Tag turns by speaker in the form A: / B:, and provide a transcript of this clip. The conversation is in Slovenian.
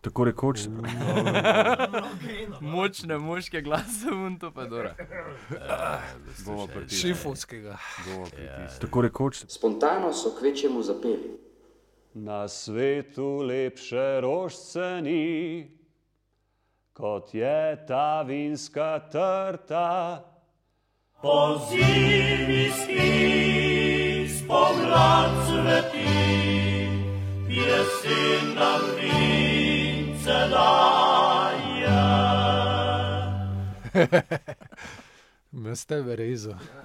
A: Tako rekoč.
B: Močne moške glase, un to pa Eh, dora.
C: Bomo pritisnili.
D: Šifovskega.
C: Bomo pritisnili.
A: Tako rekoč.
E: Spontano so kvečemu zapeli.
F: Na svetu lepše rožce ni, kot je ta vinska trta.
G: Pozimi spis, poglad sveti, jesen nam vince daje.
D: Me ste verejzo.